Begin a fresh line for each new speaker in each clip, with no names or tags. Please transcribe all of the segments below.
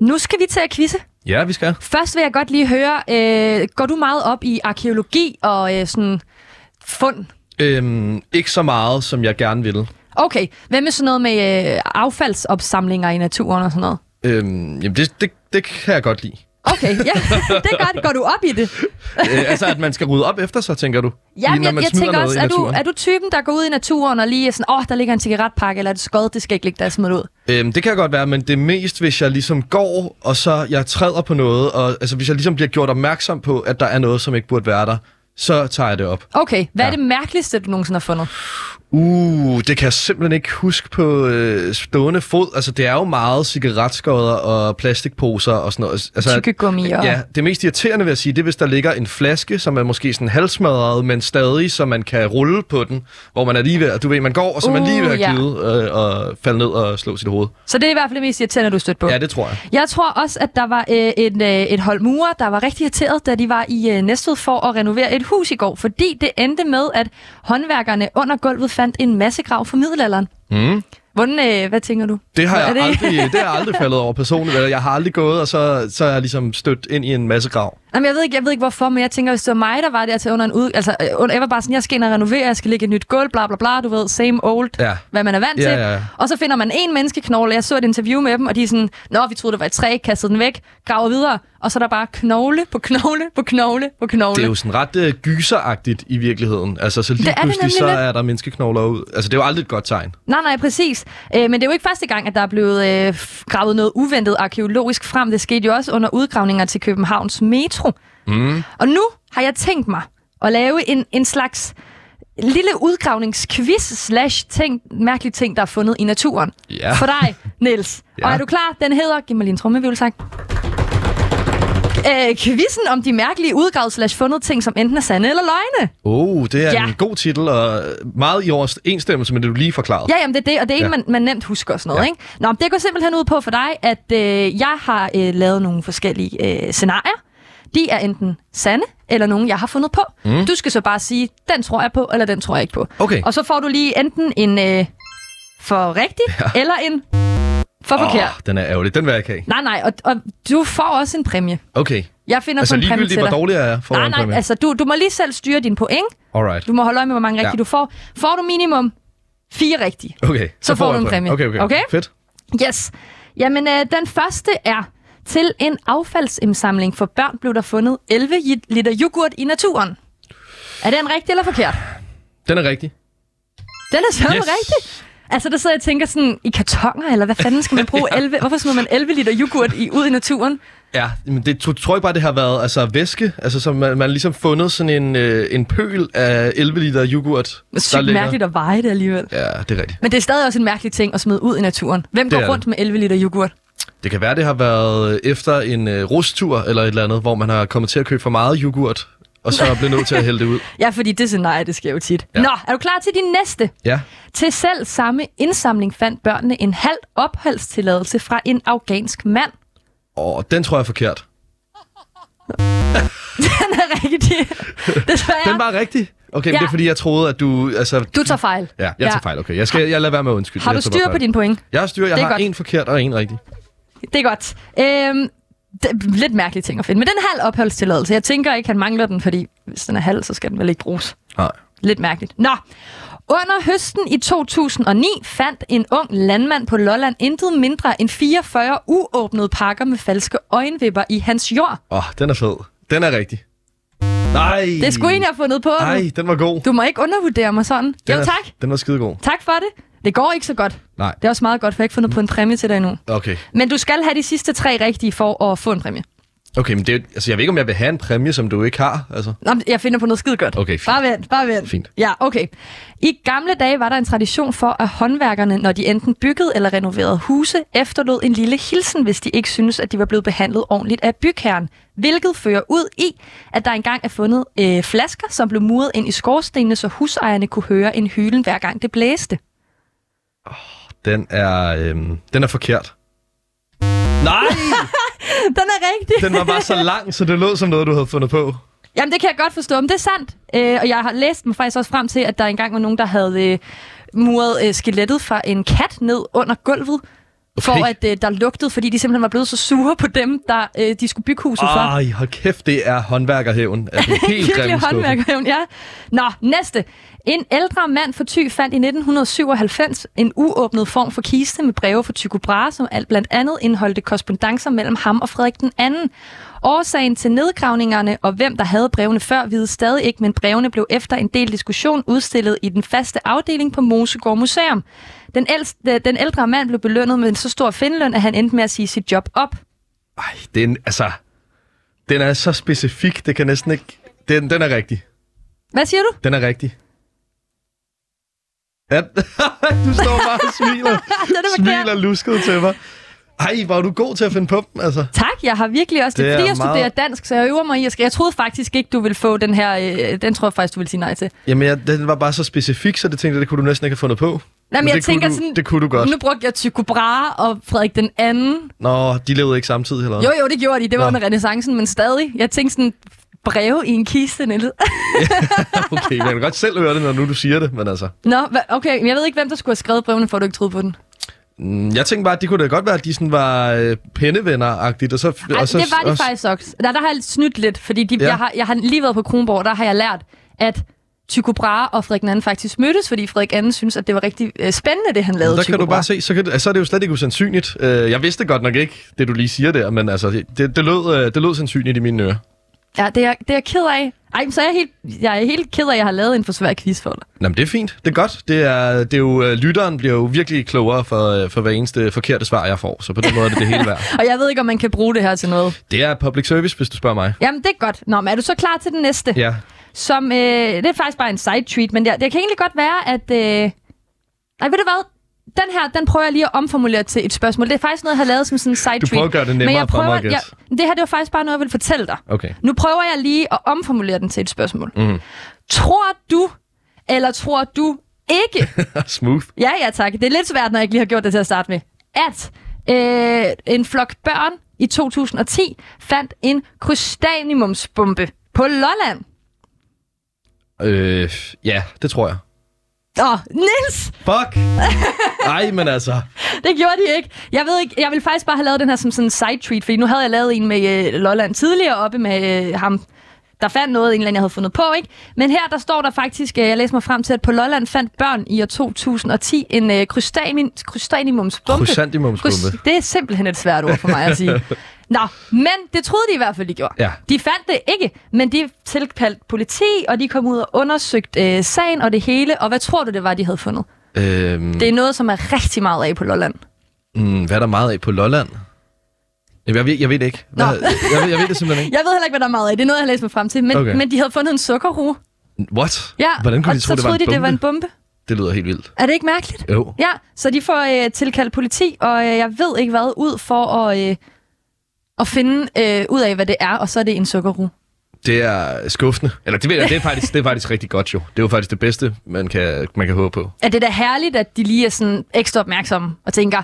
Nu skal vi til at quizze.
Ja, vi skal.
Først vil jeg godt lige høre, øh, går du meget op i arkeologi og øh, sådan fund?
Øhm, ikke så meget, som jeg gerne ville.
Okay, hvad med sådan noget med øh, affaldsopsamlinger i naturen og sådan noget?
Øhm, jamen, det, det, det kan jeg godt lide.
Okay, ja, det er godt. Går du op i det?
øh, altså, at man skal rydde op efter sig, tænker du?
Ja, men
når
jeg,
man
jeg
smider
tænker
noget
også,
i
er du,
naturen?
er du typen, der går ud i naturen og lige er sådan, åh, oh, der ligger en cigaretpakke, eller er det skod, det skal ikke ligge der smidt ud?
Øhm, det kan godt være, men det er mest, hvis jeg ligesom går, og så jeg træder på noget, og altså, hvis jeg ligesom bliver gjort opmærksom på, at der er noget, som ikke burde være der, så tager jeg det op.
Okay, hvad ja. er
Ja.
det mærkeligste, du nogensinde har fundet?
Uh, det kan jeg simpelthen ikke huske på øh, stående fod. Altså, det er jo meget cigaretskodder og plastikposer og sådan noget. Altså,
Tykkegummi og...
Ja, det mest irriterende vil jeg sige, det er, hvis der ligger en flaske, som er måske sådan halvsmadret, men stadig, så man kan rulle på den, hvor man er lige ved, at- du ved, man går, og så er man
Uh,
lige ved at
ja.
glide øh, og falde ned og slå sit hoved.
Så det er i hvert fald det mest irriterende, du er stødt på.
Ja, det tror jeg.
Jeg tror også, at der var øh, en, øh, et hold murer, der var rigtig irriteret, da de var i øh, Næstved for at renovere et hus i går, fordi det endte med, at håndværkerne under gulvet fandt en masse grav fra middelalderen.
Mm.
Hvordan, øh, hvad tænker du?
Det har,
Er
jeg
det-
aldrig, det har jeg aldrig faldet over personligt. Eller jeg har aldrig gået, og så, så er jeg ligesom stødt ind i en masse grav.
Jamen, jeg ved ikke, jeg ved ikke hvorfor, men jeg tænker, hvis det var mig, der var der til under en ud... Altså, øh, under, jeg var bare sådan, jeg skal ind og renovere, jeg skal lægge et nyt gulv, bla bla bla, du ved, same old,
Ja.
hvad man er vant
Ja,
til.
ja, ja.
Og så finder man en menneskeknogle, jeg så et interview med dem, og de er sådan, nå, vi troede, det var et træ, kastede den væk, graver videre, og så er der bare knogle på knogle på knogle på knogle.
Det er jo sådan ret øh, gyseragtigt i virkeligheden. Altså, så lige
Det er det
pludselig,
nemlig
så
lidt.
er der menneskeknogler ud. Altså, det er jo aldrig et godt tegn.
Nej, nej, præcis. Øh, men det er jo ikke første gang, at der er blevet øh, f- gravet noget uventet arkeologisk frem. Det skete jo også under udgravninger til Københavns Metro.
Mm.
Og nu har jeg tænkt mig at lave en, en slags lille udgravningsquiz slash ting, mærkelige ting, der er fundet i naturen.
Ja.
For dig, Niels.
Ja.
Og er du klar? Den hedder... Giv mig lige en trummevivel, tak. Øh, quizzen om de mærkelige udgravet slash fundet ting, som enten er sande eller løgne.
Oh, det er
Ja.
ja. en god titel, og meget i overensstemmelse med det, du lige forklarede.
Ja, jamen det er det, og det er en, ja.
Ja.
man, man nemt husker og sådan noget. Ja.
Ja.
Ikke? Nå, men det går simpelthen ud på for dig, at øh, jeg har øh, lavet nogle forskellige øh, scenarier. De er enten sande, eller nogen, jeg har fundet på. Mm. Du skal så bare sige, den tror jeg på, eller den tror jeg ikke på.
Okay.
Og så får du lige enten en øh, for rigtig, ja. eller en for forkert.
Åh, den er ærgerlig. Den vil jeg ikke have.
Nej, nej, og, og du får også en præmie.
Okay.
Jeg finder
Altså
på en præmie til
ligegyldigt, hvor
dig.
dårlig jeg er for
nej,
en
nej,
præmie.
altså du, du må lige selv styre din point.
Alright.
Du må holde øje med, hvor mange rigtige ja. du får. Får du minimum fire rigtige,
Okay.
Så får
jeg
du en præmie.
Okay, okay.
Okay?
Fedt.
Yes. Jamen, øh, den første er, til en affaldsindsamling for børn blev der fundet 11 j- liter yoghurt i naturen. Er den rigtig eller forkert?
Den er rigtig.
Den er sørme yes. rigtig. Altså, der sidder jeg og tænker sådan, i kartonger, eller hvad fanden skal man bruge 11? Hvorfor smider man 11 liter yoghurt i, ud i naturen?
Ja, men det tro- tror jeg bare, det har været altså, væske. Altså, så man, man har ligesom fundet sådan en, øh, en pøl af 11 liter yoghurt. der
Sygt
ligger-
mærkeligt at veje det alligevel.
Ja, det er rigtigt.
Men det er stadig også en mærkelig ting at smide ud i naturen. Hvem
Det
går
er
rundt med 11 liter yoghurt?
Det kan være, det har været øh, efter en øh, rustur eller et eller andet, hvor man har kommet til at købe for meget yoghurt, og så er blevet nødt til at hælde det ud.
Ja, fordi det scenarie, det sker jo tit. Ja.
Ja.
Nå, er du klar til din næste?
Ja.
Til selv samme indsamling fandt børnene en halv opholdstilladelse fra en afghansk mand.
Og den tror jeg er forkert.
Den er rigtig... Desværre.
Den var rigtig. Okay, men
Ja.
det er fordi, jeg troede, at du... Altså,
Du tager fejl.
Ja, jeg tager fejl, okay. Jeg, skal, jeg lader være med at undskylde.
Har
Jeg
du
tog bare
styr på
fejl.
dine point?
Jeg har styr. Jeg
Det er
har
godt.
en forkert og en rigtig.
Det er godt. Øhm, det er lidt mærkelige ting at finde. Men den halv opholdstilladelse, jeg tænker ikke, han mangler den, fordi hvis den er halv, så skal den vel ikke bruges.
Nej.
Lidt mærkeligt. Nå. Under høsten i 2009 fandt en ung landmand på Lolland intet mindre end 44 uåbnede pakker med falske øjenvipper i hans jord.
Åh, oh, den er fed. Den er rigtig. Nej.
Det er sgu en, jeg har fundet på. nu.
Nej, den var god.
Du må ikke undervurdere mig sådan.
Den
Jo,
er,
tak.
Den var skidegod.
Tak for det. Det går ikke så godt.
Nej,
Det er også meget godt, for jeg har ikke fundet på en præmie til dig endnu.
okay.
Men du skal have de sidste tre rigtige for at få en præmie.
Okay, men det, er jo- altså, jeg ved ikke, om jeg vil have en præmie, som du ikke har. Altså.
Nå, men jeg finder på noget skide godt.
Okay, fint.
Bare vent, bare vent.
Fint.
Ja, okay. I gamle dage var der en tradition for, at håndværkerne, når de enten byggede eller renoverede huse, efterlod en lille hilsen, hvis de ikke synes, at de var blevet behandlet ordentligt af bygherren. Hvilket fører ud i, at der engang er fundet øh, flasker, som blev muret ind i skorstenene, så husejerne kunne høre en hylen, hver gang det blæste.
Den er, øhm, den er forkert. Nej,
Den er rigtig.
den var bare så lang, så det lød som noget, du havde fundet på.
Jamen, det kan jeg godt forstå, men det er sandt. Øh, og jeg har læst mig faktisk også frem til, at der engang var nogen, der havde øh, muret øh, skelettet fra en kat ned under gulvet, Okay. For at øh, der lugtede, fordi de simpelthen var blevet så sure på dem, der øh, de skulle bygge huset for.
Ej, hold kæft, det er håndværkerhævn. Er det helt
Virkelig
grimme skuffe.
håndværkerhævn, ja. Nå, næste. En ældre mand fra Thy fandt i 1997 en uåbnet form for kiste med breve fra Tycho Brahe, som alt blandt andet indeholdte korrespondancer mellem ham og Frederik den anden. Årsagen til nedgravningerne og hvem der havde brevene før vides stadig ikke, men brevene blev efter en del diskussion udstillet i den faste afdeling på Mosegård Museum. Den, ældste, den ældre mand blev belønnet med en så stor finløn, at han endte med at sige sit job op.
Ej, den, altså, den er så specifik, det kan næsten ikke... Den, den er rigtig.
Hvad siger du?
Den er rigtig. Ja, du står bare og smiler.
Den er forkert.
smiler lusket til mig. Ej, var du god til at finde på dem, altså.
Tak, jeg har virkelig også det.
Det
det fordi
er
jeg studerer
meget-
dansk, så jeg øver mig i at skrive. Jeg troede faktisk ikke, du ville få den her... Øh, den tror jeg faktisk, du ville sige nej til.
Jamen, jeg, den var bare så specifik, så det tænkte jeg, det kunne du næsten ikke have fundet på.
Jamen,
Men
jeg
det
tænker
kunne du,
sådan-
Det kunne du godt.
Nu brugte jeg Tycho Brahe og Frederik den anden.
Nå, de levede ikke samtidig heller.
Jo, jo, det gjorde de. Det var
Nå.
under renaissancen, men stadig. Jeg tænkte sådan breve i en kiste, Niels.
Okay, jeg kan godt selv høre det, når nu du siger det, men altså.
Nå, hva- okay, men jeg ved ikke, hvem der skulle have skrevet brevene, for at du ikke troede på den.
Mm, Jeg tænkte bare, at det kunne da godt være, at de sådan var øh, pennevenner-agtigt. Og så,
Ej,
og så,
det var de
også,
faktisk også. Der, der har jeg snydt lidt, fordi de, ja.
Ja.
jeg, har, jeg har lige været på Kronborg, der har jeg lært, at Tycho Brahe og Frederik den anden faktisk mødtes, fordi Frederik anden synes, at det var rigtig øh, spændende, det han lavede.
Der
Tycho
kan du
Brahe.
bare se, så, kan, du- altså, så er det jo slet ikke usandsynligt. Øh, Jeg vidste godt nok ikke, det du lige siger der, men altså, det, det, lød, øh, det lød sandsynligt i mine ører.
Ja, det er, jeg- det er jeg ked af. Ej, men så er jeg helt, jeg er helt ked af, at jeg har lavet en for svær quiz for dig.
Nå, men det er fint. Det er godt. Det er, det er jo, øh, lytteren bliver jo virkelig klogere for, øh, for hver eneste forkerte svar, jeg får. Så på den måde er det det hele værd.
Og jeg ved ikke, om man kan bruge det her til noget.
Det er public service, hvis du spørger mig.
Jamen, det er godt. Nå, men er du så klar til den næste?
Ja.
Som, øh, det er faktisk bare en side treat, men det, det kan egentlig godt være, at... Øh... Ej, ved du hvad? Den her, den prøver jeg lige at omformulere til et spørgsmål. Det er faktisk noget, jeg har lavet som sådan en side treat.
Du prøver at gøre det
men
nemmere
jeg
for mig
prøver,
at gætte.
jeg, Det her, det var faktisk bare noget, jeg ville fortælle dig.
Okay.
Nu prøver jeg lige at omformulere den til et spørgsmål.
Mhm.
Tror du, eller tror du ikke,
Smooth.
Ja, ja tak. Det er lidt svært, når jeg ikke lige har gjort det til at starte med. At øh, en flok børn i 2010 fandt en krystalliumsbombe på Lolland.
Øh, ja, det tror jeg.
Åh, Nils!
Fuck! Nej, men altså.
Det gjorde de ikke. Jeg ved ikke, jeg ville faktisk bare have lavet den her som sådan en side-treat, fordi nu havde jeg lavet en med øh, Lolland tidligere oppe med øh, ham, der fandt noget, en eller anden, jeg havde fundet på, ikke? Men her, der står der faktisk, øh, jeg læser mig frem til, at på Lolland fandt børn i år 2010 en øh, krystallium- krystalliumsbombe.
Krysantimumsbombe.
Kryds- Det er simpelthen et svært ord for mig at sige. Nå, men det troede de i hvert fald, de gjorde.
Ja.
De fandt det ikke, men de tilkaldte politi, og de kom ud og undersøgte øh, sagen og det hele. Og hvad tror du, det var, de havde fundet?
Øhm,
Det er noget, som er rigtig meget af på Lolland.
mm, hvad er der meget af på Lolland? Jamen, Jeg ved, jeg ved det ikke. Hvad,
Nå.
jeg, ved, jeg ved det simpelthen ikke.
Jeg ved heller ikke, hvad der er meget af. Det er noget, jeg har læst mig frem til. Men, okay.
Okay.
men de havde fundet en sukkerrue.
What?
Ja,
Hvordan kunne
og
de tro,
så
det var
troede
en
de,
bombe?
det var en bombe.
Det lyder helt vildt.
Er det ikke mærkeligt?
Jo.
Ja, så de får øh, tilkaldt politi, og øh, jeg ved ikke hvad, ud for at, øh, at finde øh, ud af, hvad det er. Og så er det en sukkerrue.
Det er skuffende. Eller det, ved jeg, det, er faktisk, det er faktisk rigtig godt jo. Det er jo faktisk det bedste, man kan, man kan håbe på.
er det da herligt, at de lige er sådan ekstra opmærksomme og tænker,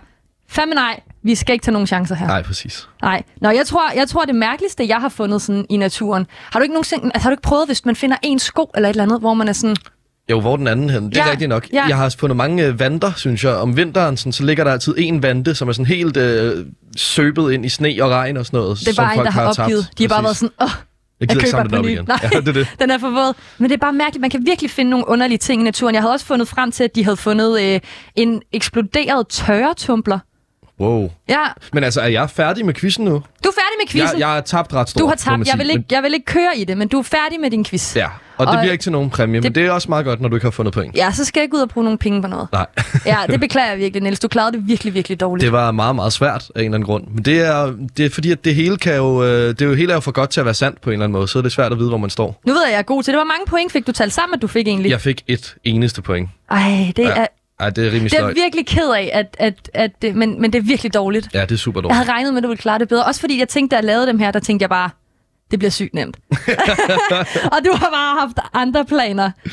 fandme nej, vi skal ikke tage nogen chancer her.
Nej, præcis.
Nej. Nå, jeg tror, jeg tror det mærkeligste, jeg har fundet sådan i naturen. Har du ikke nogensinde, altså, har du ikke prøvet, hvis man finder en sko eller et eller andet, hvor man er sådan,
Jo, hvor er den anden hen? Det er
Ja,
ja, rigtigt nok.
ja.
Ja. Jeg har fundet mange øh, vanter, synes jeg. Om vinteren, sådan, så ligger der altid en vante, som er sådan helt øh, søbet ind i sne og regn og sådan noget.
det er bare
som
en,
folk
der har opgivet.
Tabt.
De har bare været
Præcis.
sådan, åh,
Jeg
jeg
gider ikke
køber
samle den
den
op
på ny.
igen.
Nej.
Ja, det er det.
den er for våd. Men det er bare mærkeligt. Man kan virkelig finde nogle underlige ting i naturen. Jeg havde også fundet frem til, at de havde fundet øh, en eksploderet tørretumbler.
Wow.
Ja,
Men altså, er jeg færdig med quizzen nu?
du er færdig med
Jeg,
quizzen.
jeg har tabt ret stort.
du har
må man
tabt. Jeg
sige.
vil, ikke, jeg vil ikke køre i det, men du er færdig med din quiz.
Men, ja, og det
Og-
bliver ikke til nogen præmie,
det-
men det er også meget godt, når du ikke har fundet point.
Ja, så skal jeg ikke ud og bruge nogle penge på noget.
Nej,
Ja, det beklager jeg virkelig, Niels. Du klarede det virkelig, virkelig dårligt.
det var meget, meget svært af en eller anden grund. Men det er, det er fordi, at det hele, kan jo, øh, det er jo hele er jo for godt til at være sandt på en eller anden måde, så er det svært at vide, hvor man står.
Nu ved jeg, jeg er god til det. Hvor mange point fik du talt sammen, at du fik egentlig?
Jeg fik et eneste point.
Ej, det,
Ja,
er,
Ej, det er rimelig
det er jeg
sløjt.
virkelig ked af, at, at, at, at, men, men det er virkelig dårligt.
Ja, det er super
Jeg
dårligt.
havde regnet med, at du ville klare det bedre. Også fordi jeg tænkte, da jeg lavede dem her, der tænkte jeg bare, det bliver sygt nemt. og du har bare haft andre planer.